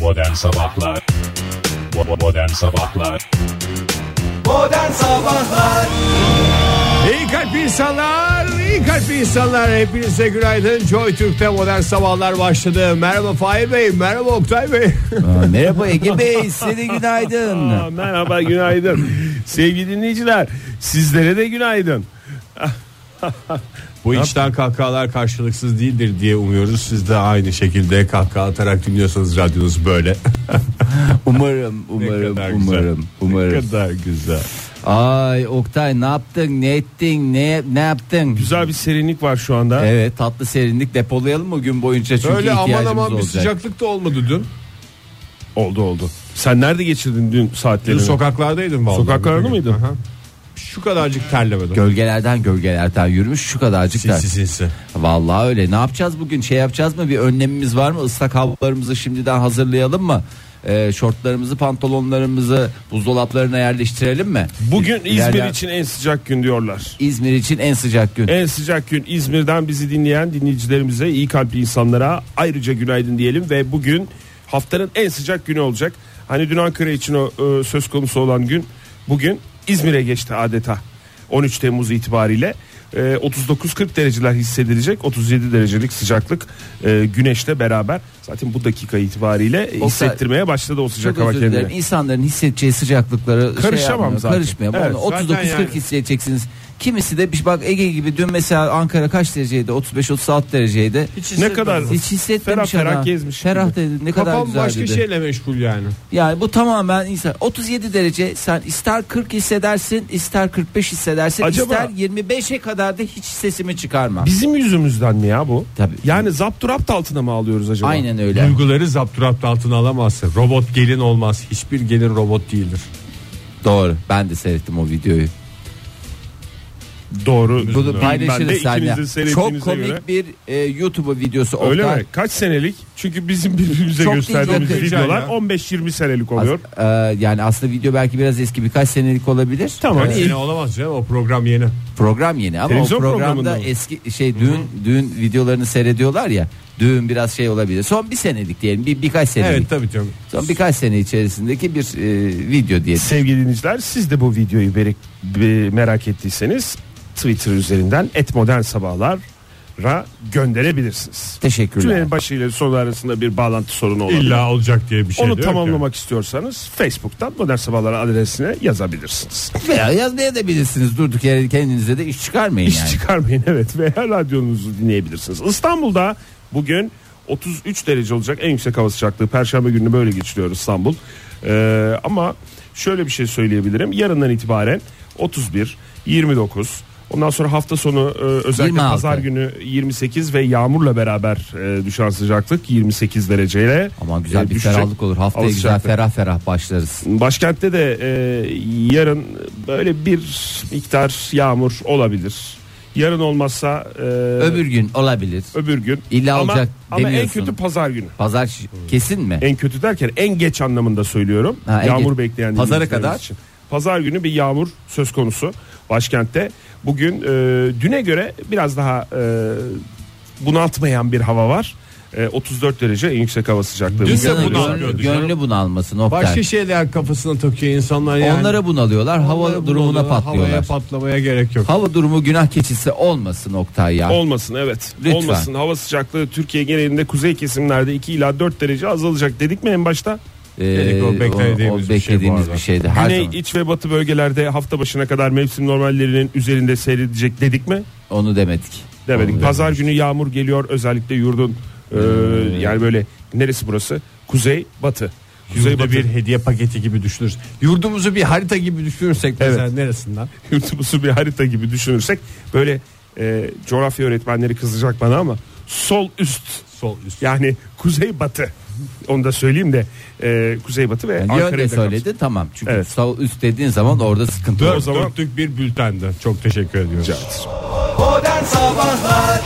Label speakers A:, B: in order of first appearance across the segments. A: Modern Sabahlar Bo- Modern Sabahlar
B: Modern Sabahlar
C: İyi kalp insanlar, iyi kalp insanlar. Hepinize günaydın. Joy Türk'te modern sabahlar başladı. Merhaba Fahir Bey, merhaba Oktay Bey.
B: Merhaba Ege Bey size de günaydın
D: Aa, merhaba günaydın. Sevgili dinleyiciler sizlere de günaydın.
C: Bu içten kahkahalar karşılıksız değildir diye umuyoruz. Siz de aynı şekilde kahkaha atarak dinliyorsanız radyonuz böyle.
B: Umarım umarım
C: kadar güzel.
B: umarım
C: ne
B: umarım
C: kadar güzel.
B: Ay Oktay ne yaptın ne ettin ne, ne yaptın
D: Güzel bir serinlik var şu anda.
B: Evet tatlı serinlik depolayalım mı gün boyunca çünkü
C: Öyle aman
B: ihtiyacımız
C: aman bir
B: olacak.
C: sıcaklık da olmadı dün.
D: Oldu oldu. Sen nerede geçirdin dün saatlerini?
C: Dün sokaklardaydım vallahi.
D: Sokaklarda mıydın?
C: Aha. Şu kadarcık terlemedim.
B: Gölgelerden gölgelerden yürümüş şu kadarcık da.
C: Sinsi sinsi.
B: Vallahi öyle. Ne yapacağız bugün? Şey yapacağız mı? Bir önlemimiz var mı? Islak havlularımızı şimdiden hazırlayalım mı? Ee, şortlarımızı, pantolonlarımızı buzdolaplarına yerleştirelim mi?
D: Bugün İzmir
B: İlerleyen-
D: için en sıcak gün diyorlar.
B: İzmir için en sıcak gün.
D: En sıcak gün İzmir'den bizi dinleyen dinleyicilerimize iyi kalpli insanlara ayrıca günaydın diyelim ve bugün haftanın en sıcak günü olacak. Hani dün Ankara için o e, söz konusu olan gün bugün İzmir'e geçti adeta 13 Temmuz itibariyle. E, 39-40 dereceler hissedilecek 37 derecelik sıcaklık e, güneşle beraber zaten bu dakika itibariyle
B: Oktay,
D: hissettirmeye başladı o sıcak
B: Çok
D: hava
B: özür dilerim.
D: kendini.
B: İnsanların hissedeceği sıcaklıkları
D: Karışamam
B: şey yapmıyor,
D: zaten.
B: Karışmıyor.
D: Evet,
B: Onu 39
D: zaten yani.
B: 40 hissedeceksiniz. Kimisi de bir- bak Ege gibi dün mesela Ankara kaç dereceydi? 35 36 dereceydi. Hiç,
D: Ne kadar ferah
B: hissetmemiş
D: ferah
B: ama.
D: gezmiş
B: Ferah dedi. Ne kadar
C: Kafam
B: güzel
C: başka
B: dedi.
D: şey-
C: şeyle meşgul yani.
B: Yani bu tamamen insan 37 derece sen ister 40 hissedersin ister 45 hissedersin
D: Acaba-
B: ister 25'e kadar da hiç sesimi çıkarma.
D: Bizim yüzümüzden mi ya bu?
B: Tabii.
D: Yani zapturapt altına mı alıyoruz acaba?
B: Aynen öyle.
C: Duyguları zapturapt altına alamazsın. Robot gelin olmaz. Hiçbir gelin robot değildir.
B: Doğru. Ben de seyrettim o videoyu.
D: Doğru.
B: Bunu
D: Ben de
B: paylaşırız
D: ikinizin
B: seninle.
D: seyrettiğinize
B: Çok komik
D: göre.
B: bir e, YouTube videosu.
D: Öyle
B: Oktay.
D: mi? Kaç senelik? Çünkü bizim birbirimize
B: Çok
D: gösterdiğimiz
B: değil,
C: çok
D: videolar
C: değil.
D: 15-20
B: As-
D: senelik oluyor.
B: e, yani aslında video belki biraz eski birkaç senelik olabilir.
D: Tamam.
C: Yani
D: iyi.
C: yeni olamaz canım o program yeni.
B: Program yeni ama
D: Televizyon
B: o programda
D: programında mı?
B: eski şey düğün düğün videolarını seyrediyorlar ya. Düğün biraz şey olabilir. Son bir senelik diyelim. Bir birkaç senelik.
C: Evet tabii canım.
B: Son birkaç sene içerisindeki bir e, video diyelim.
D: Sevgili dinleyiciler siz de bu videoyu berek- be- merak ettiyseniz Twitter üzerinden et modern sabahlara gönderebilirsiniz.
B: Teşekkürler.
D: Cümlenin başıyla sonu arasında bir bağlantı sorunu olabilir.
C: İlla olacak diye bir şey
D: Onu
C: diyor ki.
D: tamamlamak istiyorsanız Facebook'tan modern sabahlar adresine yazabilirsiniz.
B: Veya yazmaya da bilirsiniz durduk yere kendinize de iş çıkarmayın
D: İş
B: yani.
D: çıkarmayın evet veya radyonuzu dinleyebilirsiniz. İstanbul'da bugün 33 derece olacak en yüksek hava sıcaklığı. Perşembe gününü böyle geçiriyor İstanbul. Ee, ama şöyle bir şey söyleyebilirim. Yarından itibaren 31, 29 Ondan sonra hafta sonu e, özellikle
B: 26.
D: pazar günü 28 ve yağmurla beraber e, düşen sıcaklık 28 dereceyle.
B: Ama güzel
D: e,
B: bir
D: düşecek
B: ferahlık olur. Haftaya
D: hava
B: güzel
D: sıcaklığı.
B: ferah ferah başlarız.
D: Başkentte de e, yarın böyle bir miktar yağmur olabilir. Yarın olmazsa e,
B: Öbür gün olabilir.
D: öbür gün.
B: İlla
D: ama,
B: olacak
D: ama en
B: demiyorsun.
D: kötü pazar günü.
B: Pazar şi- kesin mi?
D: En kötü derken en geç anlamında söylüyorum.
B: Ha, en
D: yağmur
B: geç.
D: bekleyen
B: Pazara
D: dinleyicilerimiz
B: kadar?
D: için. Pazar günü bir yağmur söz konusu başkentte. Bugün e, düne göre biraz daha e, bunaltmayan bir hava var. E, 34 derece en yüksek hava sıcaklığı.
C: Dün de
B: İnsanın
C: bunu
B: gönlü-
C: alıyordu canım.
B: gönlü bunu almasın Oktay.
D: şey
C: Başka şeyler kafasına takıyor insanlar yani.
B: Onlara bunalıyorlar.
C: Onlara
B: Hava durumuna
C: bunalıyorlar, Havaya
B: patlıyorlar.
C: patlamaya gerek yok.
B: Hava durumu günah keçisi olmasın Oktay ya.
D: Olmasın evet.
B: Ah. Lütfen.
D: Olmasın. Hava sıcaklığı Türkiye genelinde kuzey kesimlerde 2 ila 4 derece azalacak dedik mi en başta?
B: Ee,
C: Dedik, o beklediğimiz bir şey bu
B: beklediğimiz
C: arada.
B: bir şeydi. Her
D: Güney,
B: zaman.
D: iç ve batı bölgelerde hafta başına kadar mevsim normallerinin üzerinde seyredecek dedik mi?
B: Onu demedik.
D: Demedik. Pazar günü yağmur geliyor özellikle yurdun e,
B: Hmm.
D: yani böyle neresi burası? Kuzey batı. Kuzey
C: Yurda
D: batı.
C: bir hediye paketi gibi düşünürüz. Yurdumuzu bir harita gibi düşünürsek mesela
D: Evet.
C: neresinden?
D: yurtumuzu bir harita gibi düşünürsek böyle e, coğrafya öğretmenleri kızacak bana ama sol üst
C: Sol üst.
D: yani kuzey batı. Onu da söyleyeyim de e, kuzey batı ve
B: Yani
D: Ankara'yı
B: yönde
D: da kapsın.
B: söyledi tamam. Çünkü
D: Evet.
B: sağ üst dediğin zaman orada sıkıntı
C: Dört
B: olur.
D: zaman-
C: dörtlük bir bültendi. Çok teşekkür ediyoruz.
B: Modern Sabahlar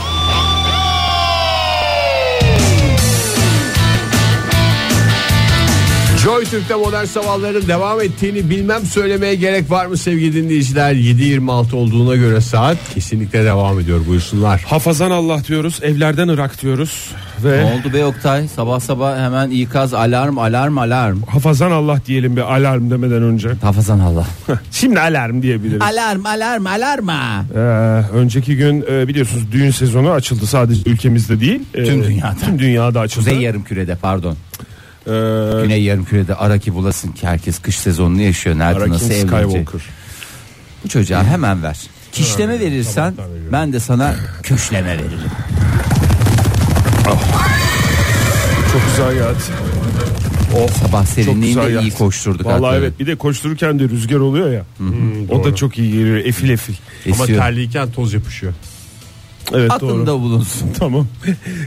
C: Joy Türk'te modern sabahların devam ettiğini bilmem söylemeye gerek var mı sevgili dinleyiciler? 7.26 olduğuna göre saat kesinlikle devam ediyor buyursunlar.
D: Hafazan Allah diyoruz, evlerden ırak diyoruz ve
B: Ne oldu be Oktay? Sabah sabah hemen ikaz alarm alarm alarm.
D: hafazan Allah diyelim bir alarm demeden önce.
B: Hafızan Allah.
D: Şimdi alarm diyebiliriz.
B: alarm alarm alarma.
D: Ee, önceki gün e, biliyorsunuz düğün sezonu açıldı sadece ülkemizde değil. Ee,
B: Tüm dünyada.
D: Tüm dünyada açıldı.
B: Kuzey yarım kürede pardon.
D: Ee,
B: Güney yarım kürede ara ki bulasın ki herkes kış sezonunu yaşıyor. Nerede
D: Arakin
B: nasıl evlenecek?
D: Skywalker.
B: Bu çocuğa hemen ver. Kişleme verirsen ben de sana köşleme veririm.
D: Çok güzel geldi.
B: Sabah
D: Çok güzel
B: serinliğinde
D: geldi.
B: iyi koşturduk.
D: Vallahi
B: hakikaten.
D: evet bir de koştururken de rüzgar oluyor ya. o da çok iyi geliyor efil efil.
B: Esiyor.
C: terliyken toz yapışıyor.
D: Evet doğru.
B: Aklında bulunsun.
D: Tamam.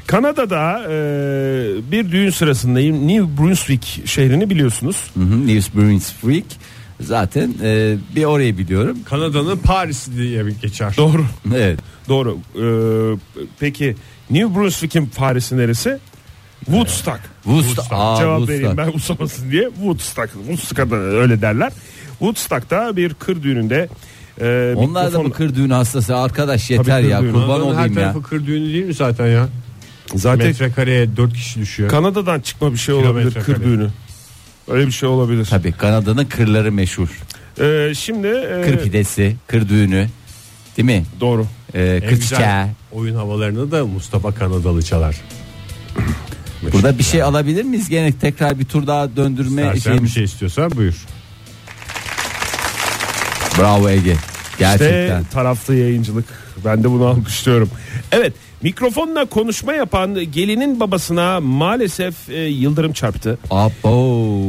D: Kanada'da e, bir düğün sırasında New Brunswick şehrini biliyorsunuz.
B: Hı hı, New Brunswick zaten e, bir orayı biliyorum.
C: Kanada'nın Paris'i diye bir geçer.
D: Doğru.
B: Evet.
D: Doğru. E, peki New Brunswick'in Paris'i neresi? Woodstock.
B: Woodstock. Aa,
D: Cevap
B: Woodstock.
D: vereyim ben usamasın diye Woodstock. Woodstock'a da öyle derler. Woodstock'ta bir kır düğününde e,
B: Onlar da
D: mikrofon-
B: mı kır düğün hastası arkadaş yeter
D: kır
B: ya
D: düğünü.
B: kurban
C: Kanada'nın her
B: olayım ya.
C: tarafı kır düğünü değil mi zaten ya?
D: Zaten
C: Metrekareye 4 kişi düşüyor.
D: Kanada'dan çıkma bir şey olabilir
C: Kilometre
D: kır
C: kare.
D: düğünü. Öyle bir şey olabilir.
B: Tabii Kanada'nın kırları meşhur.
D: E, şimdi e,
B: Kır pidesi, kır düğünü. Değil mi?
D: doğru.
B: Ee,
C: En
B: kır
C: güzel
B: çiçeği.
C: oyun havalarını da Mustafa Kanadalı çalar.
B: Burada bir şey alabilir miyiz? Gene tekrar bir tur daha döndürme
C: Dersen bir
B: şeyimiz.
C: şey istiyorsan buyur.
B: Bravo Ege. Gerçekten.
D: İşte taraflı yayıncılık. Ben de bunu alkışlıyorum. Evet mikrofonla konuşma yapan gelinin babasına maalesef e, yıldırım çarptı.
B: Abo.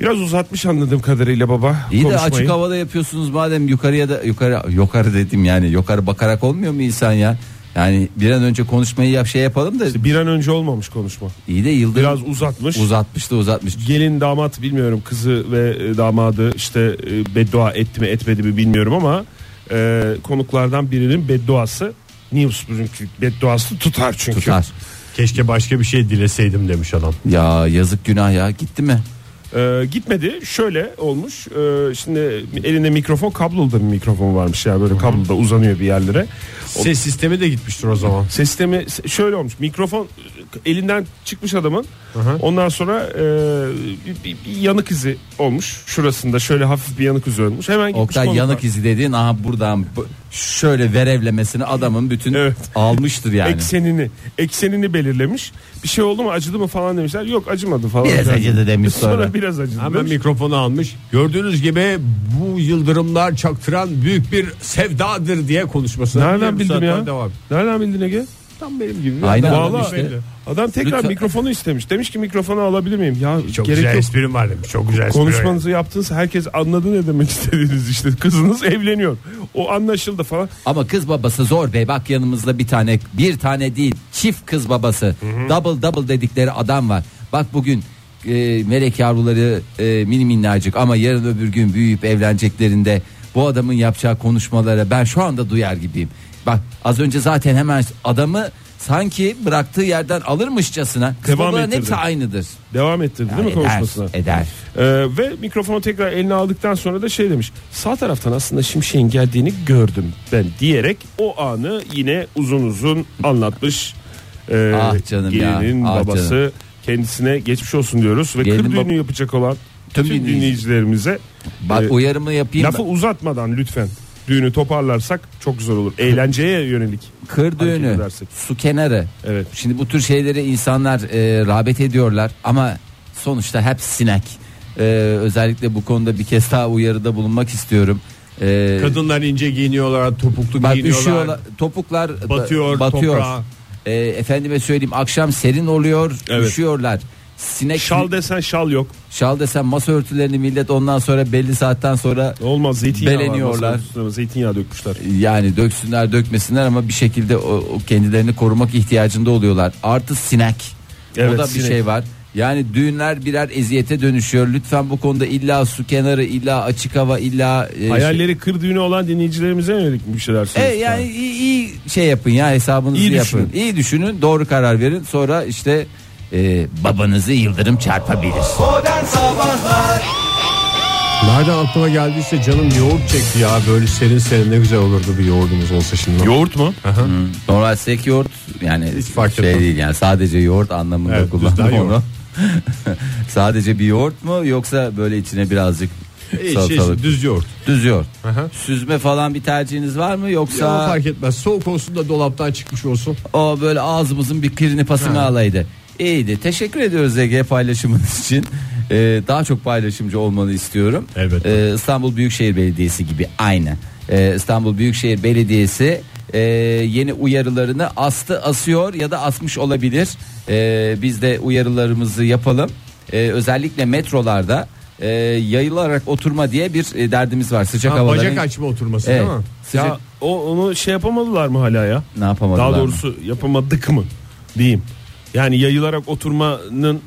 D: Biraz uzatmış anladığım kadarıyla baba.
B: İyi de
D: konuşmayı.
B: açık havada yapıyorsunuz madem yukarıya da yukarı yukarı dedim yani yukarı bakarak olmuyor mu insan ya? Yani bir an önce konuşmayı yap şey yapalım da
D: Bir an önce olmamış konuşma.
B: iyi de yıldırım
D: Biraz uzatmış.
B: uzatmış da uzatmış.
D: Gelin damat bilmiyorum kızı ve e, damadı işte e, beddua etti mi etmedi mi bilmiyorum ama e, konuklardan birinin bedduası Newsbring'in bedduası tutar çünkü.
B: Tutar.
C: Keşke başka bir şey dileseydim demiş adam.
B: Ya yazık günah ya gitti mi?
D: Ee, gitmedi. Şöyle olmuş. Ee, şimdi elinde mikrofon kablolu da bir mikrofon varmış ya böyle kablo da uzanıyor bir yerlere. O
C: Ses sistemi de gitmiştir o zaman.
D: ses sistemi se- şöyle olmuş. Mikrofon e, elinden çıkmış adamın. Ondan sonra e, bir, bir- bir yanık izi olmuş. Şurasında şöyle hafif bir yanık izi olmuş. Hemen gitmiş.
B: Oktay
D: konuklar.
B: yanık izi dediğin aha buradan bu- şöyle verevlemesini adamın bütün
D: Evet.
B: almıştır yani.
D: Eksenini eksenini belirlemiş. Bir şey oldu mu acıdı mı falan demişler. Yok acımadı falan.
B: Biraz acıdı demiş sonra.
D: Sonra biraz acıdı.
C: Hemen
D: demiş.
C: mikrofonu almış. Gördüğünüz gibi bu yıldırımlar çaktıran büyük bir sevdadır diye konuşmasına.
D: Nereden
C: Yarım
D: bildim
C: saat
D: ya?
C: daha Devam.
D: Nereden bildin Ege?
C: Tam benim gibi. bir
B: Aynen
C: adam.
B: adam
D: Vallahi
B: işte.
D: Adam tekrar
B: Lütfen.
D: mikrofonu istemiş. Demiş ki mikrofonu alabilir miyim? Ya
C: Çok şey.
D: gerek
C: güzel
D: yok.
C: esprim var demiş. Çok güzel esprim.
D: Konuşmanızı yaptınız herkes anladı ne demek istediğiniz işte. Kızınız evleniyor. O anlaşıldı falan.
B: Ama kız babası zor be bak yanımızda bir tane bir tane değil çift kız babası double double dedikleri adam var. Bak bugün e, melek yavruları e, mini minnacık ama yarın öbür gün büyüyüp evleneceklerinde bu adamın yapacağı konuşmalara ben şu anda duyar gibiyim. Bak az önce zaten hemen adamı sanki bıraktığı yerden alırmışçasına kız
D: Devam
B: babaların
D: ettirdi.
B: hepsi aynıdır.
D: Devam ettirdi değil mi
B: eder,
D: konuşmasına?
B: eder.
D: Ee, ve mikrofonu tekrar eline aldıktan sonra da şey demiş. Sağ taraftan aslında şimşeğin geldiğini gördüm ben diyerek o anı yine uzun uzun anlatmış. Ee,
B: Ah canım ya,
D: gelinin
B: ah canım.
D: babası kendisine geçmiş olsun diyoruz ve
B: Gelinin
D: kır düğünü
B: bab-
D: yapacak olan
B: Tüm
D: tüm,
B: dinleyici-
D: dinleyicilerimize
B: Bak
D: e,
B: uyarımı yapayım.
D: Lafı uzatmadan lütfen düğünü toparlarsak çok güzel olur. Eğlenceye yönelik.
B: Kır düğünü,
D: edersek.
B: su kenarı.
D: Evet.
B: Şimdi bu tür şeyleri insanlar e, rağbet ediyorlar ama sonuçta hep sinek. E, özellikle bu konuda bir kez daha uyarıda bulunmak istiyorum. E,
C: Kadınlar ince giyiniyorlar, topuklu
B: bak
C: giyiniyorlar.
B: üşüyorlar, topuklar da-
C: Batıyor
B: batıyor.
C: toprağa.
B: E, efendime söyleyeyim akşam serin oluyor,
D: Evet.
B: üşüyorlar. Sinek
D: Şal desen şal yok.
B: şal desen masa örtülerini millet ondan sonra belli saatten sonra
D: Olmaz zeytinyağı
B: Beleniyorlar.
D: var. masanın üstüne. Zeytinyağı dökmüşler.
B: yani döksünler dökmesinler ama bir şekilde o, o kendilerini korumak ihtiyacında oluyorlar. Artı sinek. o
D: Evet,
B: da bir
D: sinek.
B: şey var. Yani düğünler birer eziyete dönüşüyor. Lütfen bu konuda illa su kenarı, illa açık hava, illa e, şey-
D: Hayalleri kır düğünü olan dinleyicilerimize yönelik bir şeyler
B: E,
D: söylüyorsun.
B: yani iyi, iyi şey yapın ya hesabınızı
D: İyi
B: yapın.
D: düşünün.
B: İyi düşünün, doğru karar verin. Sonra işte e, babanızı yıldırım çarpabilir.
C: Nereden aklıma geldiyse canım yoğurt çekti ya. Böyle serin serin ne güzel olurdu bir yoğurdumuz olsa şimdi.
D: Yoğurt mu?
B: Normal sek yoğurt yani
C: Hiç fark
B: şey
C: etmez.
B: değil yani sadece yoğurt anlamında
C: Evet,
B: kullandım
C: düzden
B: onu.
C: yoğurt.
B: sadece bir yoğurt mu yoksa böyle içine birazcık
C: Hiç,
B: salatalık
C: hiç, şey, düz yoğurt.
B: düz yoğurt.
C: Aha.
B: Süzme falan bir tercihiniz var mı
C: Ya
B: yoksa
C: fark etmez. Soğuk olsun da dolaptan çıkmış olsun.
B: o böyle ağzımızın bir kirini pasını alaydı. İyiydi. Teşekkür ediyoruz Ege paylaşımınız için. Ee, daha çok paylaşımcı olmanı istiyorum.
C: Elbette.
B: Ee, İstanbul Büyükşehir Belediyesi gibi aynı. Ee, İstanbul Büyükşehir Belediyesi e, yeni uyarılarını astı asıyor ya da asmış olabilir. Ee, biz de uyarılarımızı yapalım. Ee, özellikle metrolarda e, yayılarak oturma diye bir e, derdimiz var sıcak
C: Ha,
B: havaların.
C: bacak açma oturması
B: Evet.
C: değil mi?
B: Sıcak-
D: Ya o onu şey yapamadılar mı hala ya?
B: ne yapamadılar?
D: Daha
B: mı?
D: doğrusu yapamadık mı diyeyim. Yani yayılarak oturmanın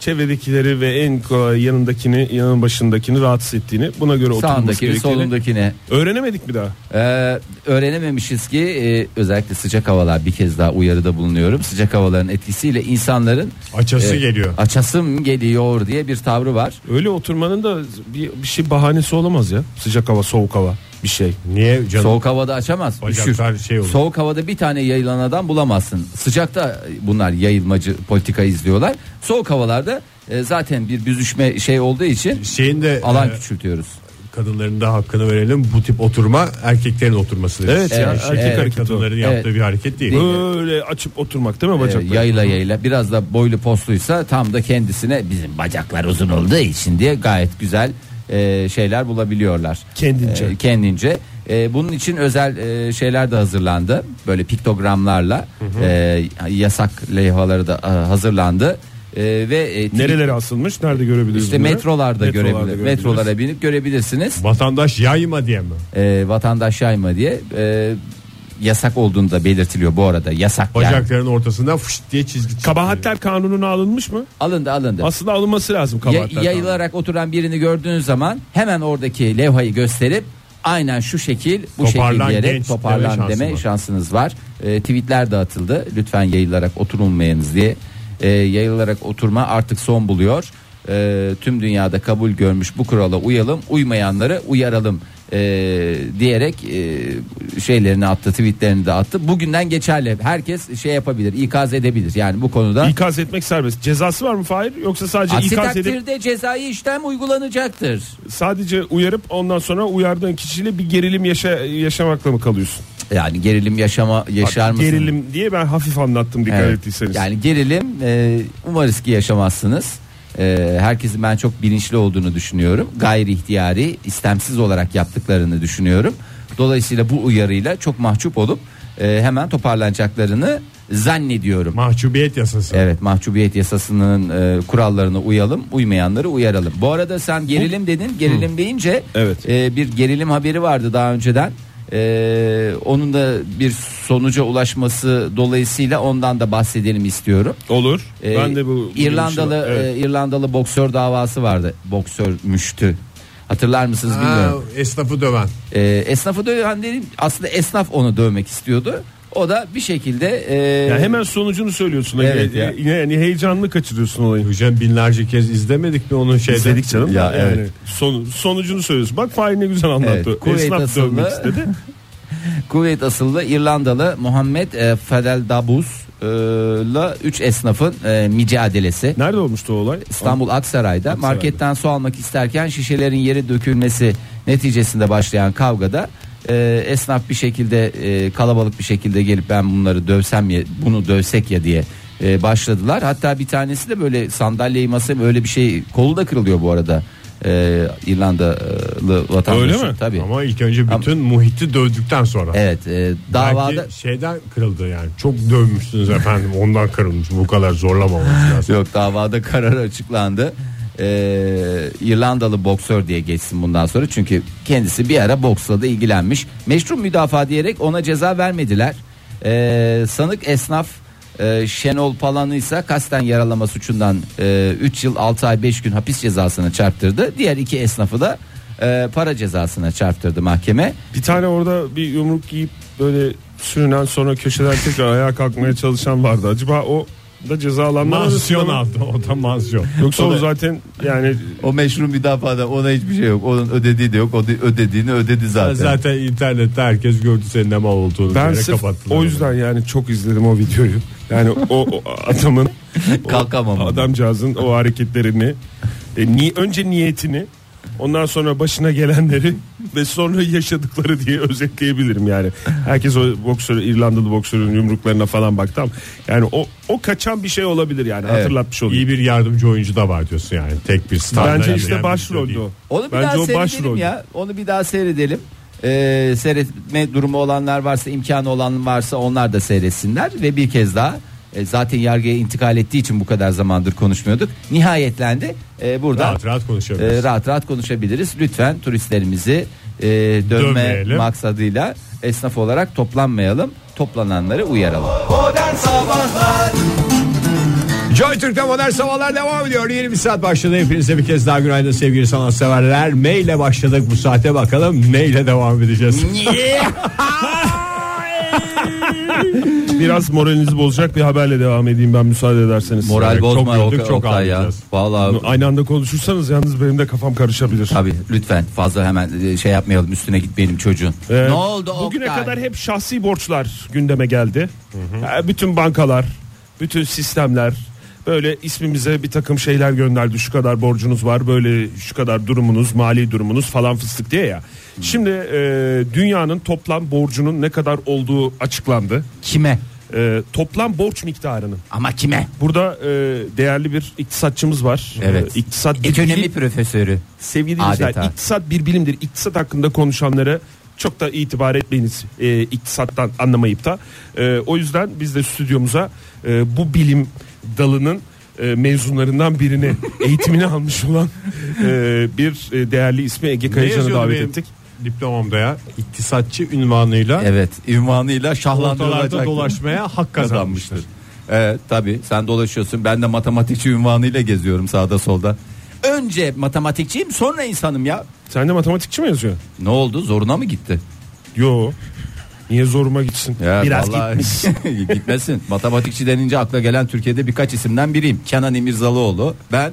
D: çevredekileri ve en kolay yanındakini, yanın başındakini rahatsız ettiğini, buna göre oturması
B: sağındakini,
D: gerektiğini
B: solundakini.
D: öğrenemedik mi daha?
B: Ee, öğrenememişiz ki e, özellikle sıcak havalar bir kez daha uyarıda bulunuyorum. Sıcak havaların etkisiyle insanların
C: Açası
B: e,
C: geliyor.
B: Açasım geliyor diye bir tavrı var.
D: Öyle oturmanın da bir, bir şey bahanesi olamaz ya. Sıcak hava, soğuk hava bir şey.
C: Niye canım?
B: Soğuk havada açamaz. üşür.
C: Bacaklar şey olur.
B: Soğuk havada bir tane yayılan adam bulamazsın. Sıcakta e, bunlar yayılmacı politika izliyorlar. Soğuk havalarda e, zaten bir büzüşme şey olduğu için
C: Şeyin de
B: alan
C: e,
B: küçültüyoruz.
C: kadınların da hakkını verelim. Bu tip oturma erkeklerin oturmasıdır.
D: Evet ya,
C: Yani
B: Evet,
C: erkek
B: evet.
C: hareketi kadınların
B: Evet.
C: yaptığı bir hareket değil.
D: Böyle açıp oturmak değil mi
B: E,
D: bacakları?
B: yayla yayla biraz da boylu posluysa tam da kendisine bizim bacaklar uzun olduğu için diye gayet güzel e, şeyler bulabiliyorlar.
D: Kendince.
B: E, kendince. E, bunun için özel e, şeyler de hazırlandı. Böyle piktogramlarla e, yasak levhaları da e, hazırlandı. E, ve e, tweet-
D: Nerelere asılmış? Nerede görebiliriz
B: işte
D: bunları?
B: metrolarda, görebilir.
D: görebiliriz.
B: Metrolara binip görebilirsiniz.
C: Vatandaş yayma diye mi?
B: E, vatandaş yayma diye e, yasak olduğunu da belirtiliyor bu arada. Yasak yani.
C: Bacakların ortasından fışt diye çizgi çizgi.
D: Kabahatler kanununa alınmış mı?
B: Alındı alındı.
D: Aslında alınması lazım
B: Ya-
D: kabahatler. kanunu.
B: yayılarak oturan birini gördüğünüz zaman hemen oradaki levhayı gösterip aynen şu şekil bu
C: Toparlan
B: şekil diyerek
C: genç
B: toparlan
C: deme şansı
B: deme
C: var.
B: şansınız var. Ee, tweetler de atıldı. Lütfen yayılarak oturulmayınız diye. Ee, yayılarak oturma artık son buluyor. Ee, tüm dünyada kabul görmüş bu kurala uyalım, uymayanları uyaralım ee, diyerek ee, şeylerini attı, tweetlerini de attı. Bugünden geçerli. Herkes şey yapabilir, ikaz edebilir. Yani bu konuda
D: İkaz etmek serbest. Cezası var mı Fahir? Yoksa sadece
B: Aksi
D: ikaz edip
B: takdirde cezai işlem uygulanacaktır.
D: sadece uyarıp ondan sonra uyardığın kişiyle bir gerilim yaşa, yaşamakla mı kalıyorsun?
B: Yani gerilim yaşama yaşar
D: Bak,
B: mısın?
D: Gerilim diye ben hafif anlattım dikkat
B: Evet.
D: ettiyseniz.
B: Yani gerilim e, umarız ki yaşamazsınız. E, herkesin ben çok bilinçli olduğunu düşünüyorum. Gayri ihtiyari, istemsiz olarak yaptıklarını düşünüyorum. Dolayısıyla bu uyarıyla çok mahcup olup e, hemen toparlanacaklarını zannediyorum.
C: Mahcubiyet yasası.
B: Evet mahcubiyet yasasının e, kurallarına uyalım uymayanları uyaralım. Bu arada sen gerilim dedin gerilim deyince
D: Evet.
B: e, bir gerilim haberi vardı daha önceden. E, onun da bir sonuca ulaşması dolayısıyla ondan da bahsedelim istiyorum.
D: Olur.
B: E,
D: ben de bu bu
B: İrlandalı
D: görüşü- Evet.
B: e, İrlandalı boksör davası vardı. Boksörmüştü. Hatırlar mısınız
C: Ha,
B: bilmiyorum.
C: esnafı döven.
B: E, esnafı döven dedim. Aslında esnaf onu dövmek istiyordu. O da bir şekilde e,
D: Ya hemen sonucunu söylüyorsun.
B: Evet
D: Yani-
B: ya.
D: Yani heyecanlı kaçırıyorsun olayı.
C: Hocam binlerce kez izlemedik mi onun şeyden?
D: İzledik canım.
B: Ya,
D: Yani
B: evet.
D: son- sonucunu söylüyorsun. Bak Fahir ne güzel anlattı.
B: Evet, kuvvet
D: Esnaf
B: asıllı-
D: dövmek istedi.
B: Kuveyt asıllı İrlandalı Muhammed e, Fadel Dabuz'la 3 esnafın e, mücadelesi.
D: Nerede olmuştu o olay?
B: İstanbul Aksaray'da marketten su almak isterken şişelerin yeri dökülmesi neticesinde başlayan kavgada e, esnaf bir şekilde e, kalabalık bir şekilde gelip ben bunları dövsem ya bunu dövsek ya diye e, başladılar. Hatta bir tanesi de böyle sandalyeyi masaya öyle bir şey kolu da kırılıyor bu arada. E, İrlandalı vatandaşı.
D: Öyle mi?
B: Tabii.
C: Ama ilk önce bütün muhiti dövdükten sonra.
B: Evet e,
C: Belki
B: davada
C: şeyden kırıldı yani. Çok dövmüşsünüz efendim. Ondan kırılmış. Bu kadar zorlamamanız lazım.
B: Yok davada karar açıklandı. Ee, İrlandalı boksör diye geçsin bundan sonra çünkü kendisi bir ara boksla da ilgilenmiş. Meşru müdafaa diyerek ona ceza vermediler. Ee, sanık esnaf e, Şenol Palan'ı ise kasten yaralama suçundan 3 yıl 6 ay 5 gün hapis cezasına çarptırdı. Diğer iki esnafı da e, para cezasına çarptırdı mahkeme.
D: Bir tane orada bir yumruk yiyip böyle sürünen sonra köşeden tekrar ayağa kalkmaya çalışan vardı. Acaba o da cezalanma
C: Mansiyon aldı. O da mansiyon.
D: Yoksa o zaten yani
E: O meşru müdafada ona hiçbir şey yok. Onun ödediği de yok. O de- ödediğini ödedi zaten.
C: Zaten internette herkes gördü senin ne mal olduğunu.
D: ben
C: diyerek
D: sırf
C: kapattılar
D: o
C: onu.
D: yüzden yani çok izledim o videoyu. Yani o, o adamın
E: Kalkamam.
D: o adamcağızın o hareketlerini e, ni, önce niyetini ondan sonra başına gelenleri ve sonra yaşadıkları diye özetleyebilirim yani. Herkes o boksör İrlandalı boksörün yumruklarına falan baktı ama yani o o kaçan bir şey olabilir yani hatırlatmış olayım.
C: İyi bir yardımcı oyuncu da var diyorsun yani. Tek bir şey star.
D: Bence işte başroldü o.
B: Onu bir
D: Bence
B: daha
D: o
B: seyredelim
D: başrol.
B: ya. Onu bir daha seyredelim. Ee, seyretme durumu olanlar varsa imkanı olan varsa onlar da seyretsinler ve bir kez daha e, zaten yargıya intikal ettiği için bu kadar zamandır konuşmuyorduk. Nihayetlendi. Ee, burada
C: Rahat rahat konuşabiliriz.
B: e, rahat rahat konuşabiliriz. Lütfen turistlerimizi e, dönme
C: Dönmeyelim.
B: maksadıyla esnaf olarak toplanmayalım. Toplananları uyaralım.
C: Joy Türk'te modern sabahlar devam ediyor. Yeni bir saat başladı. Hepinize bir kez daha günaydın sevgili sanatseverler. Meyle başladık bu saate bakalım. Neyle devam edeceğiz?
D: Biraz moralinizi bozacak bir haberle devam edeyim ben müsaade ederseniz.
B: Moral
D: Yani çok
B: bozma
D: güldük,
B: Ok-
D: çok
B: Oktay ya.
D: ağlayacağız.
B: Vallahi
D: Aynı anda konuşursanız yalnız benim de kafam karışabilir.
B: Tabii lütfen fazla hemen e, şey yapmayalım üstüne gitmeyelim çocuğun.
D: Ee,
B: ne oldu
D: Bugüne
B: Oktay?
D: kadar hep şahsi borçlar gündeme geldi. Ee, Bütün bankalar, bütün sistemler böyle ismimize bir takım şeyler gönderdi. Şu kadar borcunuz var, böyle şu kadar durumunuz, mali durumunuz falan fıstık diye ya. Şimdi e, dünyanın toplam borcunun ne kadar olduğu açıklandı.
B: kime?
D: E, toplam borç miktarının.
B: Ama kime?
D: Burada e, değerli bir iktisatçı var.
B: Evet.
D: E, iktisat
B: Ekonomi profesörü.
D: Sevgili
B: Adeta.
D: dinleyiciler iktisat bir bilimdir. İktisat hakkında konuşanlara çok da itibar etmeyiniz e, iktisattan anlamayıp da. E, o yüzden biz de stüdyomuza e, bu bilim dalının e, mezunlarından birini eğitimini almış olan e, bir e, değerli ismi Ege Kayacan'ı
C: yazıyordu
D: davet
C: benim
D: ettik.
C: Diplomamda ya iktisatçı ünvanıyla
B: Evet ünvanıyla
C: ortalarda
B: şahlandırılacak.
C: dolaşmaya hak kazanmıştır.
B: Evet tabii sen dolaşıyorsun ben de matematikçi ünvanıyla geziyorum sağda solda. Önce matematikçiyim sonra insanım ya.
D: Sen de matematikçi mi yazıyorsun?
B: Ne oldu zoruna mı gitti?
D: Yo. Niye zoruma gitsin?
B: Ya
D: Biraz
B: vallahi-
D: gitmiş.
B: Gitmesin. Matematikçi denince akla gelen Türkiye'de birkaç isimden biriyim. Kenan İmirzalıoğlu, ben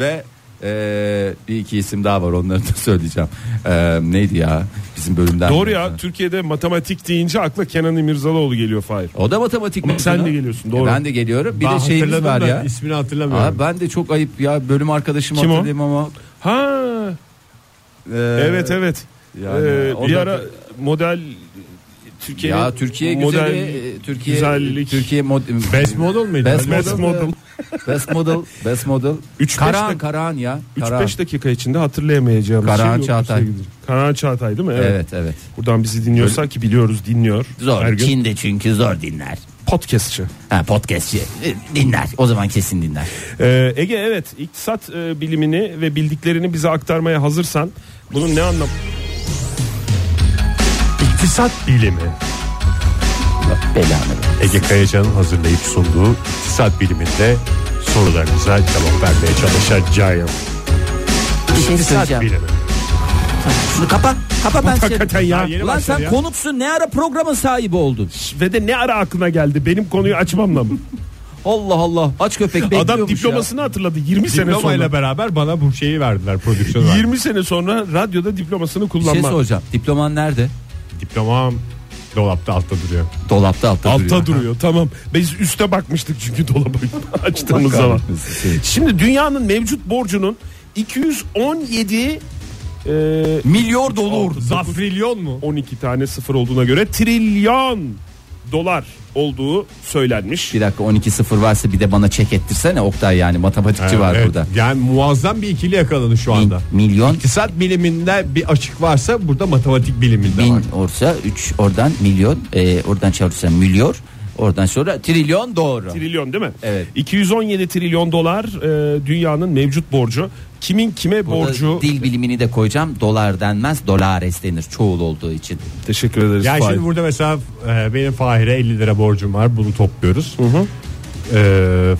B: ve eee, bir iki isim daha var onları da söyleyeceğim. Eee, neydi ya bizim bölümden?
D: Doğru
B: biri.
D: ya Türkiye'de matematik deyince akla Kenan İmirzalıoğlu geliyor Fahir.
B: O da matematik
D: Ama
B: mezunu.
D: sen de geliyorsun, doğru.
B: E, Ben de geliyorum. Bir
C: Ben
B: de şeyimiz
C: hatırladım
B: var
C: da
B: ya.
C: ismini hatırlamıyorum.
B: Aa, ben de çok ayıp ya bölüm arkadaşım
D: Kim o?
B: hatırlayayım ama. e,
D: Ha
B: eee,
D: Evet evet.
B: Yani
D: Ee,
B: o
D: bir
B: da-
D: ara model Türkiye'nin
B: Ya Türkiye
D: model
B: güzeli, e, Türkiye
D: güzellik.
B: Türkiye mod,
C: Best model miydi?
B: Best
D: Best
B: model.
D: model.
B: best model, best model.
D: Üç, beş
B: Karahan,
D: dak-
B: Karahan ya.
D: 3-5
B: Karahan.
D: dakika içinde hatırlayamayacağım.
B: Karahan
D: yok,
B: Çağatay.
D: bir gidecek. Karahan Çağatay değil mi? Evet.
B: Evet, evet.
D: Buradan bizi dinliyorsa ki biliyoruz dinliyor. Her
B: Zor.
D: gün
B: Çin'de çünkü zor dinler.
D: podcastçı.
B: Ha podcastçi E, dinler. O zaman kesin dinler.
D: Ee, Ege evet iktisat e, bilimini ve bildiklerini bize aktarmaya hazırsan bunun ne anlamı?
C: İktisat bilimi.
B: Belanı.
C: Ege Kayacan'ın hazırlayıp sunduğu iktisat biliminde sorularınıza cevap vermeye çalışacağım.
B: Bir şey
C: İktisat
B: söyleyeceğim.
C: bilimi.
B: Şunu kapa. Kapa ben seni.
D: Hakikaten ya.
B: Ulan sen konuksun ne ara programın sahibi oldun?
D: Ve de ne ara aklına geldi benim konuyu açmamla mı?
B: Allah Allah aç köpek bekliyormuş
D: Adam
B: ya.
D: diplomasını hatırladı 20 sene sonra.
C: Diplomayla beraber bana bu şeyi verdiler prodüksiyonu. verdiler.
D: 20 sene sonra radyoda diplomasını
B: Bir şey
D: kullanma.
B: soracağım. Diploman nerede?
C: Diplomam dolapta altta duruyor.
B: Dolapta altta,
D: Altta
B: duruyor.
D: duruyor tamam. Biz üste bakmıştık çünkü dolabı açtığımız
B: Allah
D: zaman.
B: kahretmesin.
D: Şimdi dünyanın mevcut borcunun 217 e,
B: Milyar dolar.
C: Zafrilyon mu?
D: 12 tane sıfır olduğuna göre trilyon dolar olduğu söylenmiş.
B: Bir dakika 12 sıfır varsa bir de bana çek ettirsene Oktay yani matematikçi var
C: Evet,
B: burada.
C: Yani muazzam bir ikili yakaladı şu anda.
B: Bin, milyon
C: İktisat biliminde bir açık varsa burada matematik biliminde var.
B: bin olsa 3 oradan milyon e, oradan çarpsa milyar oradan sonra trilyon doğru.
D: Trilyon değil mi?
B: Evet.
D: 217 trilyon dolar e, dünyanın mevcut borcu. Kimin kime
B: Burada
D: borcu?
B: Dil bilimini de koyacağım. Dolar denmez, dolares denir çoğul olduğu için.
D: Teşekkür ederiz.
C: Yani
D: Fahir.
C: şimdi burada mesela e, benim Fahir'e 50 lira borcum var bunu topluyoruz. E,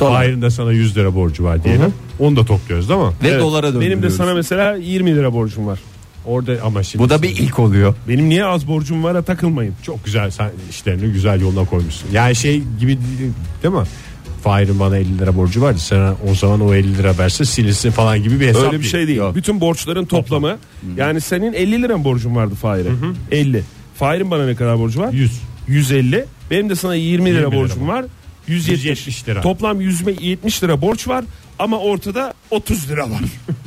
B: Dolar.
C: Fahir'in de sana 100 lira borcu var diyelim. Onu da topluyoruz değil mi?
B: Ve
D: Evet.
B: dolara döndürüyoruz.
D: Benim de sana mesela 20 lira borcum var.
C: Orada ama şimdi
B: Bu da bir ilk oluyor.
D: Benim niye az borcum var'a takılmayın.
C: çok güzel sen işlerini güzel yoluna koymuşsun. Yani şey gibi değil, değil mi? Fahir'in bana 50 lira borcu vardı. Sen o zaman o 50 lira verse silinsin falan gibi bir hesap
D: Öyle bir şey değil. Bütün borçların toplamı. Yani senin 50 liran borcun vardı Fahir'e. 50. Fahir'in bana ne kadar borcu var?
C: 100.
D: 150. Benim de sana 20 lira
C: 20 lira
D: borcum var. 170.
C: 170 lira.
D: Toplam 170 lira borç var ama ortada 30 lira var.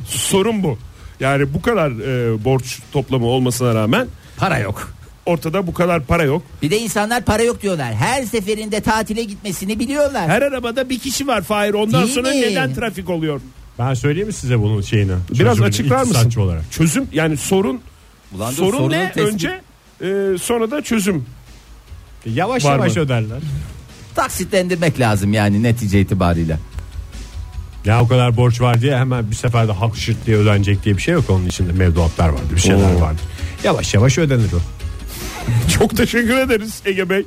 D: Sorun bu. Yani bu kadar e, borç toplamı olmasına rağmen
B: Para yok.
D: ortada bu kadar para yok.
B: Bir de insanlar para yok diyorlar. Her seferinde tatile gitmesini biliyorlar.
D: Her arabada bir kişi var Fahir. Ondan
B: Değil
D: sonra
B: mi?
D: neden trafik oluyor?
C: Ben söyleyeyim mi size bunun şeyini?
D: Biraz
C: Çözümünü
D: açıklar mısın?
C: iktisatçı olarak.
D: Çözüm yani sorun
B: Ulan dur,
D: sorun
B: sorunu
D: ne
B: tespit-
D: önce e, sonra da çözüm. E,
C: Yavaş
D: Var
C: yavaş
D: mı?
C: öderler.
B: Taksitlendirmek lazım yani netice itibariyle.
C: Ya o kadar borç var diye hemen bir seferde hak şırt diye ödenecek diye bir şey yok. Onun içinde mevduatlar vardır bir şeyler
D: Oo.
C: vardır. Yavaş yavaş ödenir o.
D: Çok teşekkür ederiz Ege Bey.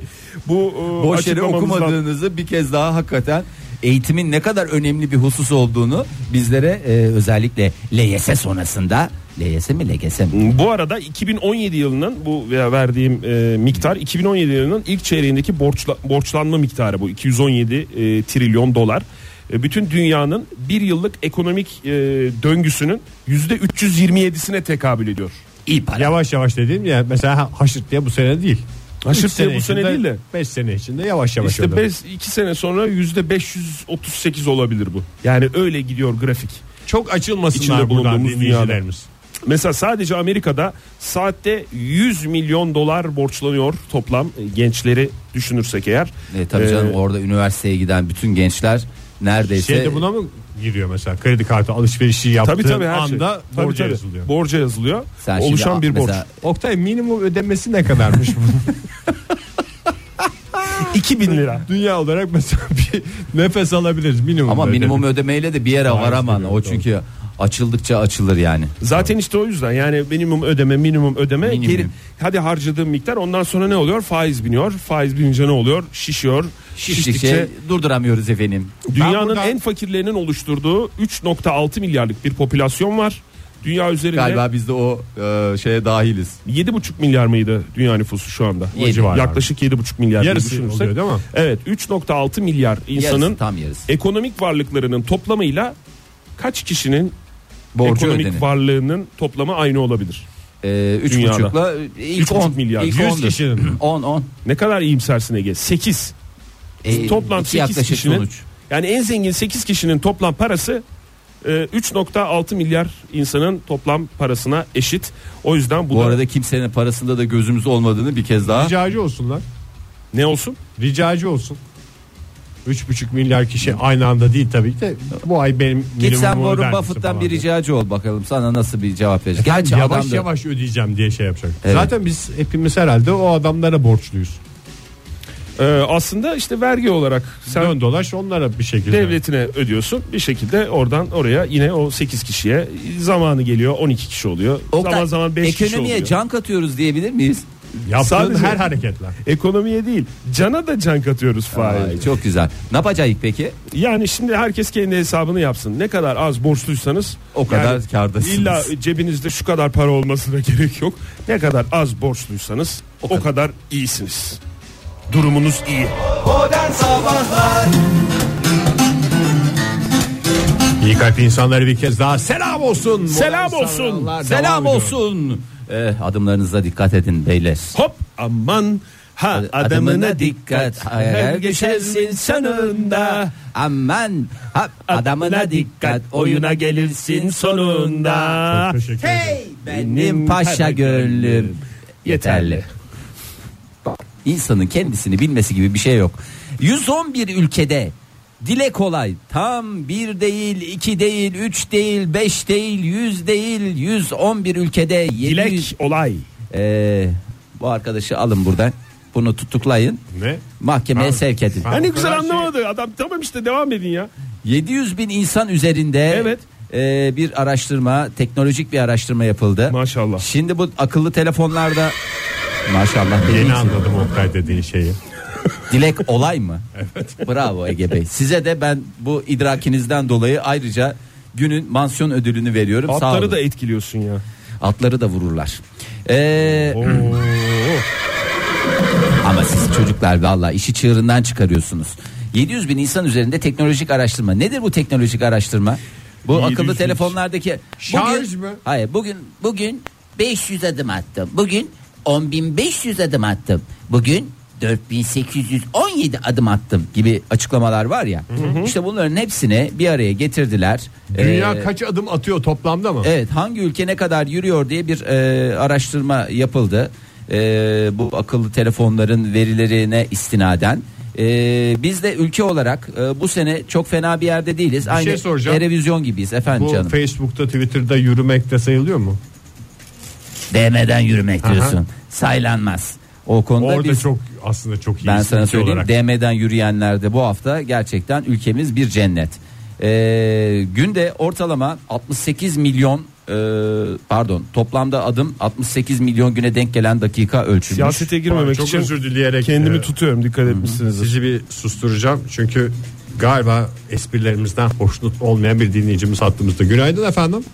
D: Bu e,
B: Boş yere
D: açıklamamızdan-
B: okumadığınızı bir kez daha hakikaten eğitimin ne kadar önemli bir husus olduğunu bizlere e, özellikle LYS sonrasında LYS mi LGS mi?
D: Bu arada 2017 yılının bu veya verdiğim e, miktar 2017 yılının ilk çeyreğindeki borçla, borçlanma miktarı bu 217 e, trilyon dolar. E, bütün dünyanın bir yıllık ekonomik e, döngüsünün yüzde 327'sine tekabül ediyor.
B: İyi para.
C: Yavaş yavaş dediğim ya mesela ha- haşırt diye bu sene değil.
D: Haşırt diye bu sene değil de.
C: 5 sene içinde yavaş yavaş
D: İşte 2 sene sonra yüzde 538 olabilir bu. Yani öyle gidiyor grafik.
C: Çok
D: İçinde
C: açılmasınlar buradan
D: bulunduğumuz
C: dinleyicilerimiz.
D: Mesela sadece Amerika'da saatte 100 milyon dolar borçlanıyor toplam e, gençleri düşünürsek eğer.
B: E, tabii
D: Ee,
B: canım orada üniversiteye giden bütün gençler neredeyse
C: Şey de buna mı giriyor mesela kredi kartı alışverişi yaptığı
D: Tabii tabii her şey.
C: anda
D: Tabii,
C: borca
D: tabii.
C: yazılıyor.
D: Borca yazılıyor.
B: Sen şimdi
D: Oluşan bir borç.
B: mesela-
C: Oktay minimum ödemesi ne kadarmış bunun?
D: 2000 lira.
C: Dünya olarak mesela bir nefes alabiliriz minimum.
B: ama
C: ödeme.
B: minimum ödemeyle de bir yere varaman o çünkü açıldıkça açılır yani.
D: Zaten işte o yüzden yani minimum ödeme minimum ödeme
B: Minimum.
D: geri hadi harcadığım miktar ondan sonra ne oluyor? Faiz biniyor. Faiz binince ne oluyor? Şişiyor.
B: Şiştikçe durduramıyoruz efendim.
D: dünyanın
C: buradan-
D: en fakirlerinin oluşturduğu 3.6 milyarlık bir popülasyon var. Dünya üzerinde
B: Galiba biz de o e, şeye dahiliz.
D: 7,5 milyar mıydı dünya nüfusu şu anda?
B: Yedi.
D: O civarlarda. Yaklaşık 7,5 milyar. diye
C: yarısı
D: düşünürsek.
C: oluyor değil mi?
D: Evet 3.6 milyar
B: Yarısı,
D: insanın
B: tam yarısı.
D: e, ekonomik varlıklarının toplamıyla kaç kişinin
B: Borcu
D: ekonomik
B: ödenir.
D: varlığının toplamı aynı olabilir.
B: Ee, üç
D: Dünyada.
B: buçukla ilk
D: Üç buçuk
B: 10
D: milyar.
B: ilk
D: Yüz
B: 10'dur.
C: kişinin mi?
B: 10 10.
D: Ne kadar iyimsersin Ege? 8.
B: Ee,
D: toplam
B: iki
D: 8
B: yaklaşık
D: kişinin
B: sonuç.
D: yani en zengin 8 kişinin toplam parası e, 3.6 milyar insanın toplam parasına eşit. O yüzden bu,
B: Bu
D: da
B: arada kimsenin parasında da gözümüz olmadığını bir kez daha
C: Ricacı olsunlar.
D: ne olsun?
C: Ricacı olsun. 3,5 milyar kişi aynı anda değil tabii ki de bu ay benim
B: Git sen
C: minimum
B: Warren
C: ödenmesi
B: Buffett'tan
C: falan
B: bir
C: diye.
B: ricacı ol bakalım sana nasıl bir cevap verecek. Gerçi
C: yavaş
B: adam da-
C: yavaş ödeyeceğim diye şey yapacak.
B: Evet.
C: Zaten biz hepimiz herhalde o adamlara borçluyuz.
D: E, aslında işte vergi olarak sen
C: Dön dolaş onlara bir şekilde.
D: devletine ödüyorsun. Bir şekilde oradan oraya yine o 8 kişiye zamanı geliyor 12 kişi oluyor.
B: Oktay,
D: zaman zaman 5 kişi
B: ekonomiye
D: oluyor.
B: can katıyoruz diyebilir miyiz?
C: Yaptığın
D: Sadece-
C: her hareketler.
D: Ekonomiye değil cana da can katıyoruz
B: Ay,
D: Fahir.
B: çok güzel. Ne yapacağız peki?
D: Yani şimdi herkes kendi hesabını yapsın. Ne kadar az borçluysanız
B: O kadar
D: yani
B: kârdasınız.
D: İlla cebinizde şu kadar para olmasına gerek yok. Ne kadar az borçluysanız o, kadar. iyisiniz. Durumunuz iyi.
C: İyi kalpli insanlara bir kez daha selam olsun.
D: Selam
C: Modern
D: olsun.
C: sabahlar
B: Selam
C: devam ediyor.
B: olsun. Eh, adımlarınıza dikkat edin beyler. Eh,
D: Hop aman ha adamına dikkat.
B: Her
D: Her geçersin sonunda.
B: Aman ha, adamına dikkat oyuna gelirsin sonunda.
C: Çok teşekkür ederim.
B: Hey benim paşa gönlüm yeterli. İnsanın kendisini bilmesi gibi bir şey yok. 111 ülkede dile kolay tam bir değil iki değil üç değil beş değil yüz değil 111 ülkede 700
D: Dilek olay.
B: Ee, bu arkadaşı alın buradan bunu tutuklayın
C: Ne?
B: mahkemeye
C: Abi,
B: sevk edin.
C: ben-
D: Hani
C: O
D: güzel
C: kadar şey-
D: anlamadı adam tamam işte devam edin ya.
B: 700 bin insan üzerinde
D: Evet.
B: e, bir araştırma, teknolojik bir araştırma yapıldı.
D: Maşallah.
B: Şimdi bu akıllı telefonlarda maşallah
C: Yeni
B: dediğiniz-
C: anladım Oktay dediğin şeyi.
B: dilek olay mı? Evet. Bravo Ege Bey. Size de ben bu idrakinizden dolayı ayrıca günün mansiyon ödülünü veriyorum. Sağ
D: Atları
B: olun.
D: da etkiliyorsun ya.
B: atları da vururlar. Ee,
D: Oo.
C: Hmm.
B: Ama siz çocuklar valla işi çığırından çıkarıyorsunuz. 700 bin insan üzerinde teknolojik araştırma. Nedir bu teknolojik araştırma? Bu
D: 700
B: akıllı
D: bin.
B: telefonlardaki
C: Şarj
B: bugün,
C: mı?
B: Hayır bugün bugün 500 adım attım. Bugün 10500 adım attım. Bugün 4817 adım attım gibi açıklamalar var ya. İşte bunların hepsini bir araya getirdiler.
C: Dünya
B: Ee,
C: kaç adım atıyor toplamda mı?
B: Evet hangi ülke ne kadar yürüyor diye bir e, araştırma yapıldı. E, bu akıllı telefonların verilerine istinaden. E, biz de ülke olarak e, bu sene çok fena bir yerde değiliz. Aynı
C: şey soracağım.
B: televizyon gibiyiz efendim
C: Bu
B: canım.
C: Facebook'ta Twitter'da yürümek de sayılıyor mu?
B: DM'den yürümek diyorsun. Saylanmaz. O konuda
C: Orada
B: biz
C: çok aslında çok iyi.
B: ben sana
C: ülke
B: söyleyeyim
C: olarak.
B: DM'den yürüyenlerde bu hafta gerçekten ülkemiz bir cennet. Ee, günde ortalama 68 milyon e, pardon toplamda adım 68 milyon güne denk gelen dakika ölçülmüş.
D: Siyasete girmemek
C: Çok
D: için
C: özür dileyerek
D: kendimi
C: e,
D: tutuyorum dikkat etmişsiniz.
C: Sizi bir susturacağım çünkü galiba esprilerimizden hoşnut olmayan bir dinleyicimiz hattımızda. Günaydın efendim.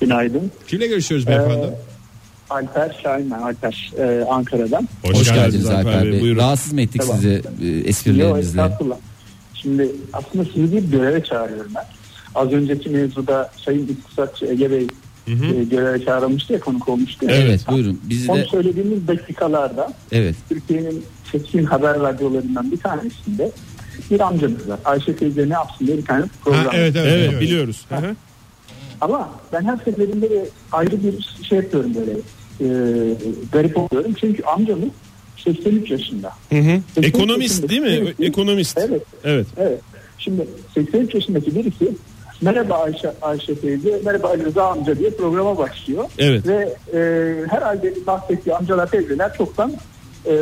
F: Günaydın.
C: Kimle görüşüyoruz beyefendi?
F: Alper Şahin ben Alper e, Ankara'dan.
C: Ee,
B: Hoş, geldiniz Alper Bey.
D: buyurun.
B: Rahatsız mı ettik
F: Tamam.
B: sizi e,
F: Yo,
B: esprilerimizle?
F: estağfurullah. Şimdi aslında sizi bir göreve çağırıyorum ben. Az önceki mevzuda Sayın İktisatçı Ege Bey e, göreve çağrılmıştı ya konuk olmuştu. ya.
B: Evet buyurun. Bizi
F: Son
B: de
F: söylediğimiz dakikalarda
B: evet.
F: Türkiye'nin seçkin haber radyolarından bir tanesinde bir amcamız var. Ayşe teyze ne yapsın diye bir tane program.
D: Evet, biliyoruz. Hı hı.
F: Ama ben her seferinde de ayrı bir şey yapıyorum böyle. e, garip oluyorum. Çünkü amcamız 83 yaşında.
D: Ekonomist değil mi?
F: Ekonomist.
D: Ekonomist.
F: Evet.
D: Evet.
F: Evet. Şimdi 83 yaşındaki birisi merhaba Ayşe, Ayşe teyze, merhaba Ali Rıza amca diye programa başlıyor.
D: Evet.
F: Ve e, herhalde bahsettiği amcalar teyzeler çoktan e,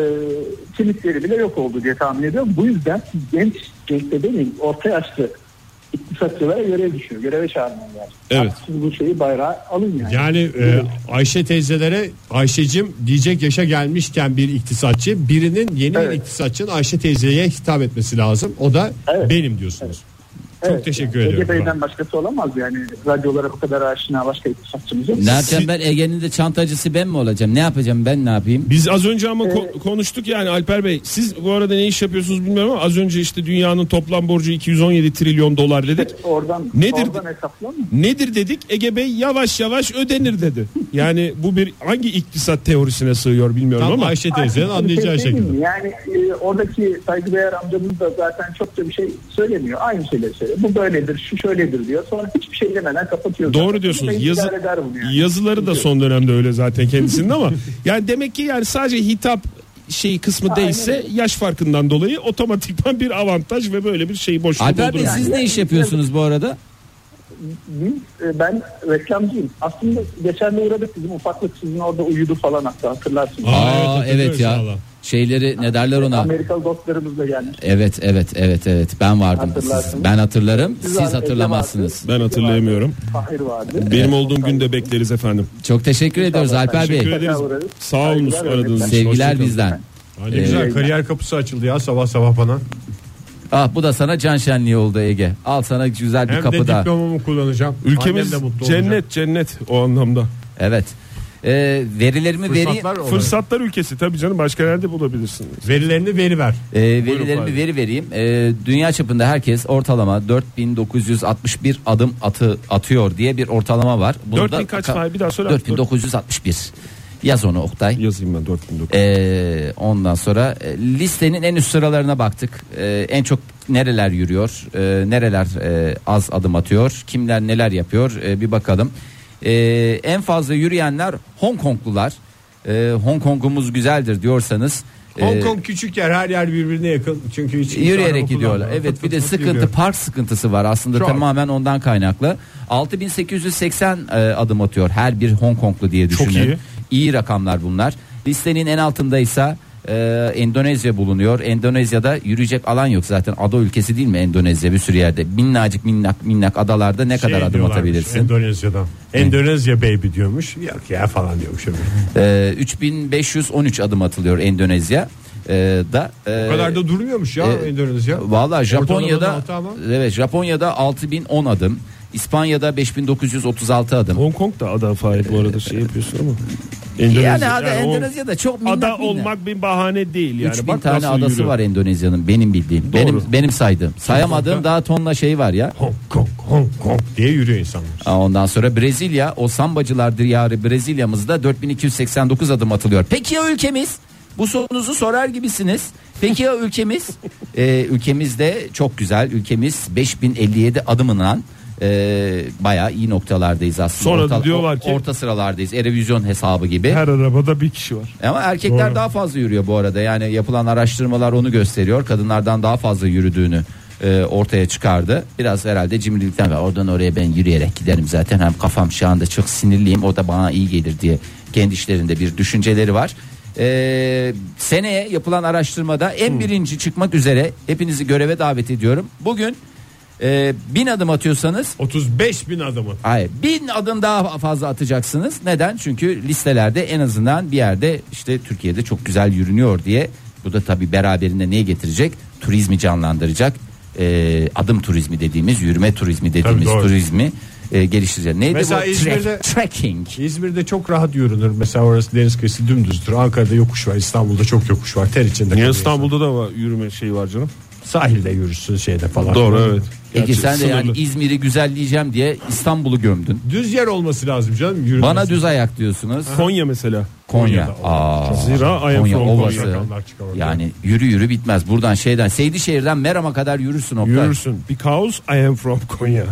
F: kimlikleri bile yok oldu diye tahmin ediyorum. Bu yüzden siz genç, genç de demeyin, orta yaşlı iktisatçılara görev düşüyor. Göreve çağırmıyor yani.
D: Evet.
F: Artık Siz bu şeyi bayrağı alın yani.
C: Yani e, Ayşe teyzelere Ayşecim diyecek yaşa gelmişken bir iktisatçı birinin yeni bir
F: Evet.
C: iktisatçının Ayşe teyzeye hitap etmesi lazım. O da
F: Evet.
C: benim diyorsunuz. Çok teşekkür
F: yani.
C: ediyorum.
F: Ege Bey'den başkası olamaz yani. Radyolara bu kadar aşina başka iktisatçımız yok.
B: Ne yapacağım ben Ege'nin de çantacısı ben mi olacağım? Ne yapacağım ben ne yapayım?
D: Biz az önce ama ko- konuştuk yani Alper Bey. Siz bu arada ne iş yapıyorsunuz bilmiyorum ama az önce işte dünyanın toplam borcu 217 trilyon dolar dedik.
F: Oradan,
D: Nedir-
F: oradan hesaplanmıyor.
D: Nedir dedik? Ege Bey yavaş yavaş ödenir dedi. Yani bu bir hangi iktisat teorisine sığıyor bilmiyorum
C: Tam
D: ama.
C: Ayşe teyzenin
F: Artık bir
C: anlayacağı
F: şey değil
C: şekilde.
F: mi? Yani e, oradaki saygıdeğer amcamız da zaten çok da bir şey söylemiyor. Aynı şeyleri söylüyor. Bu böyledir, şu şöyledir diyor. Sonra hiçbir şey demeden kapatıyor. zaten.
D: Doğru diyorsunuz.
F: Beni
D: Yazı,
F: idare eder bunu yani.
D: yazıları da son dönemde öyle zaten kendisinin ama yani demek ki yani sadece hitap şeyi kısmı değilse yaş farkından dolayı otomatikman bir avantaj ve böyle bir şey şeyi boşluk
B: Alper Bey
D: doldurur.
B: siz ne iş yapıyorsunuz bu arada?
F: Biz, e, ben reklamcıyım. Aslında geçen de uğradık bizim ufaklık sizin orada uyudu falan hatta hatırlarsınız.
B: Aa,
C: evet,
B: evet,
C: hatırlıyoruz
B: ya.
C: valla.
B: Şeyleri ne derler
D: Ah.
B: ona?
F: Amerikalı dostlarımız da gelmiş.
B: Evet evet evet evet ben vardım.
F: Hatırlarsınız.
B: Siz- ben hatırlarım siz,
F: Ecem
B: hatırlamazsınız.
F: vardı,
D: Ben hatırlayamıyorum.
F: Fahir vardı.
D: Benim olduğum günde bekleriz efendim.
B: Çok teşekkür ediyoruz Alper Bey.
D: Teşekkür ederiz.
F: uğrarız.
D: Sağ olun
F: Saygılar,
D: aradığınız için.
B: Sevgiler
D: Hoşçakalın.
B: bizden.
C: Ha,
B: Ee,
C: ne Hani güzel kariyer kapısı açıldı ya sabah sabah bana.
B: Ah bu da sana can şenliği oldu Ege. Al sana güzel bir
C: Hem
B: kapı
C: de
B: da.
C: diplomamı kullanacağım.
D: Ülkemiz
C: Annem de mutlu
D: cennet
C: olacak.
D: cennet o anlamda.
B: Evet. Ee, verilerimi veri
C: Fırsatlar olarak.
D: Fırsatlar ülkesi tabii canım başka nerede bulabilirsin?
C: Verilerini veri ver.
B: Ee,
D: Fahri.
B: verilerimi veri vereyim. Ee, dünya çapında herkes ortalama 4961 adım atı atıyor diye bir ortalama var. Bunu
D: 4000
B: da-
D: kaç Fahri? Bir daha söyle.
B: 4961. Yaz onu Oktay.
D: Yazayım ben 4900.
B: Ee, ondan sonra e, listenin en üst sıralarına baktık. Ee, en çok nereler yürüyor, e, nereler e, az adım atıyor, kimler neler yapıyor e, bir bakalım. Ee, en fazla yürüyenler Hong Konglular. Ee, Hong Kong'umuz güzeldir diyorsanız. e,
C: Hong Kong küçük yer her yer birbirine yakın. Çünkü hiç kimse araba
B: Yürüyerek gidiyorlar.
C: kullanmıyor. Fıt
B: Evet bir
C: fıt
B: de
C: fıt
B: sıkıntı
C: yürüyor.
B: park sıkıntısı var aslında
C: Çok.
B: tamamen ondan kaynaklı. 6880 e, adım atıyor her bir Hong Konglu diye
D: Çok
B: düşünün. iyi. rakamlar bunlar. Listenin en altındaysa e, Endonezya bulunuyor. Endonezya'da yürüyecek alan yok zaten. Ada ülkesi değil mi Endonezya bir sürü yerde. Minnacık minnak minnak adalarda ne
C: Şey
B: kadar adım
C: diyorlarmış,
B: atabilirsin?
C: Endonezya'dan. Endonezya baby diyormuş. Yok ya falan diyormuş. öbürü.
B: E, 3513 adım atılıyor Endonezya e, da. e,
C: O kadar da durmuyormuş ya
B: e,
C: Endonezya.
B: Valla
C: Ortalamanın
B: Japonya'da
C: altı ama.
B: evet Japonya'da 6010 adım. İspanya'da 5936 adım.
D: Hong Kong da ada Fahri bu arada şey yapıyorsun ama. Endonezya.
B: Yani, ada
D: Yani o
B: Endonezya'da çok minnak
D: Ada
B: minnak.
D: olmak bir bahane değil yani.
B: 3000
D: Bak
B: tane
D: nasıl
B: adası
D: yürüyor.
B: var Endonezya'nın benim bildiğim. Benim benim saydığım. Sayamadığım daha tonla şey var ya.
C: Hong Kong Hong Kong diye yürüyor insanlar.
B: Aa, Ondan sonra Brezilya o sambacılar diyarı Brezilya'mızda 4289 adım atılıyor. Peki ya ülkemiz? Bu sorunuzu sorar gibisiniz. Peki ya ülkemiz? Ee, ülkemiz de çok güzel. Ülkemiz 5057 adımla e, bayağı iyi noktalardayız aslında.
D: Sonra da diyorlar ki-
B: orta sıralardayız. Erevizyon hesabı gibi.
D: Her arabada bir kişi var.
B: E Ama erkekler
D: Doğru.
B: daha fazla yürüyor bu arada. Yani yapılan araştırmalar onu gösteriyor. Kadınlardan daha fazla yürüdüğünü e, ortaya çıkardı. Biraz herhalde cimrilikten ve oradan oraya ben yürüyerek giderim zaten. Hem kafam şu anda çok sinirliyim. O da bana iyi gelir diye kendi işlerinde bir düşünceleri var. E, seneye yapılan araştırmada en birinci çıkmak üzere hepinizi göreve davet ediyorum. Bugün e, bin adım atıyorsanız
C: 35 bin adamı.
B: Hayır. Bin adım daha fazla atacaksınız. Neden? Çünkü listelerde en azından bir yerde işte Türkiye'de çok güzel yürünüyor diye. Bu da tabii beraberinde neyi getirecek? Turizmi canlandıracak. Ee, adım turizmi dediğimiz, yürüme turizmi dediğimiz
C: doğru.
B: turizmi e, geliştirecek. Neydi
C: Mesela
B: bu?
C: İzmir'de-
B: Trek- trekking.
C: İzmir'de çok rahat yürünür. Mesela orası deniz kıyısı dümdüzdür. Ankara'da yokuş var. İstanbul'da çok yokuş var. Ter içinde.
D: Niye
C: kalıyor
D: İstanbul'da da var, yürüme şeyi var canım?
C: insan. Sahilde yürürsün şeyde falan.
D: Doğru evet.
B: Peki
D: Gerçi
B: sen de yani
D: sınırlı.
B: İzmir'i güzelleyeceğim diye İstanbul'u gömdün.
C: Düz yer olması lazım canım. Yürümesi.
B: Bana düz ayak diyorsunuz.
D: Konya mesela.
B: Konya.
C: Konya'da.
B: Aa,
D: Zira I am
B: Konya
D: from
B: Ovası.
D: Konya.
C: Yakanlar çıkar orada.
B: Yani yürü yürü bitmez. Buradan şeyden Seydişehir'den Meram'a kadar yürürsün Oktay.
D: Yürürsün. Because I am from Konya.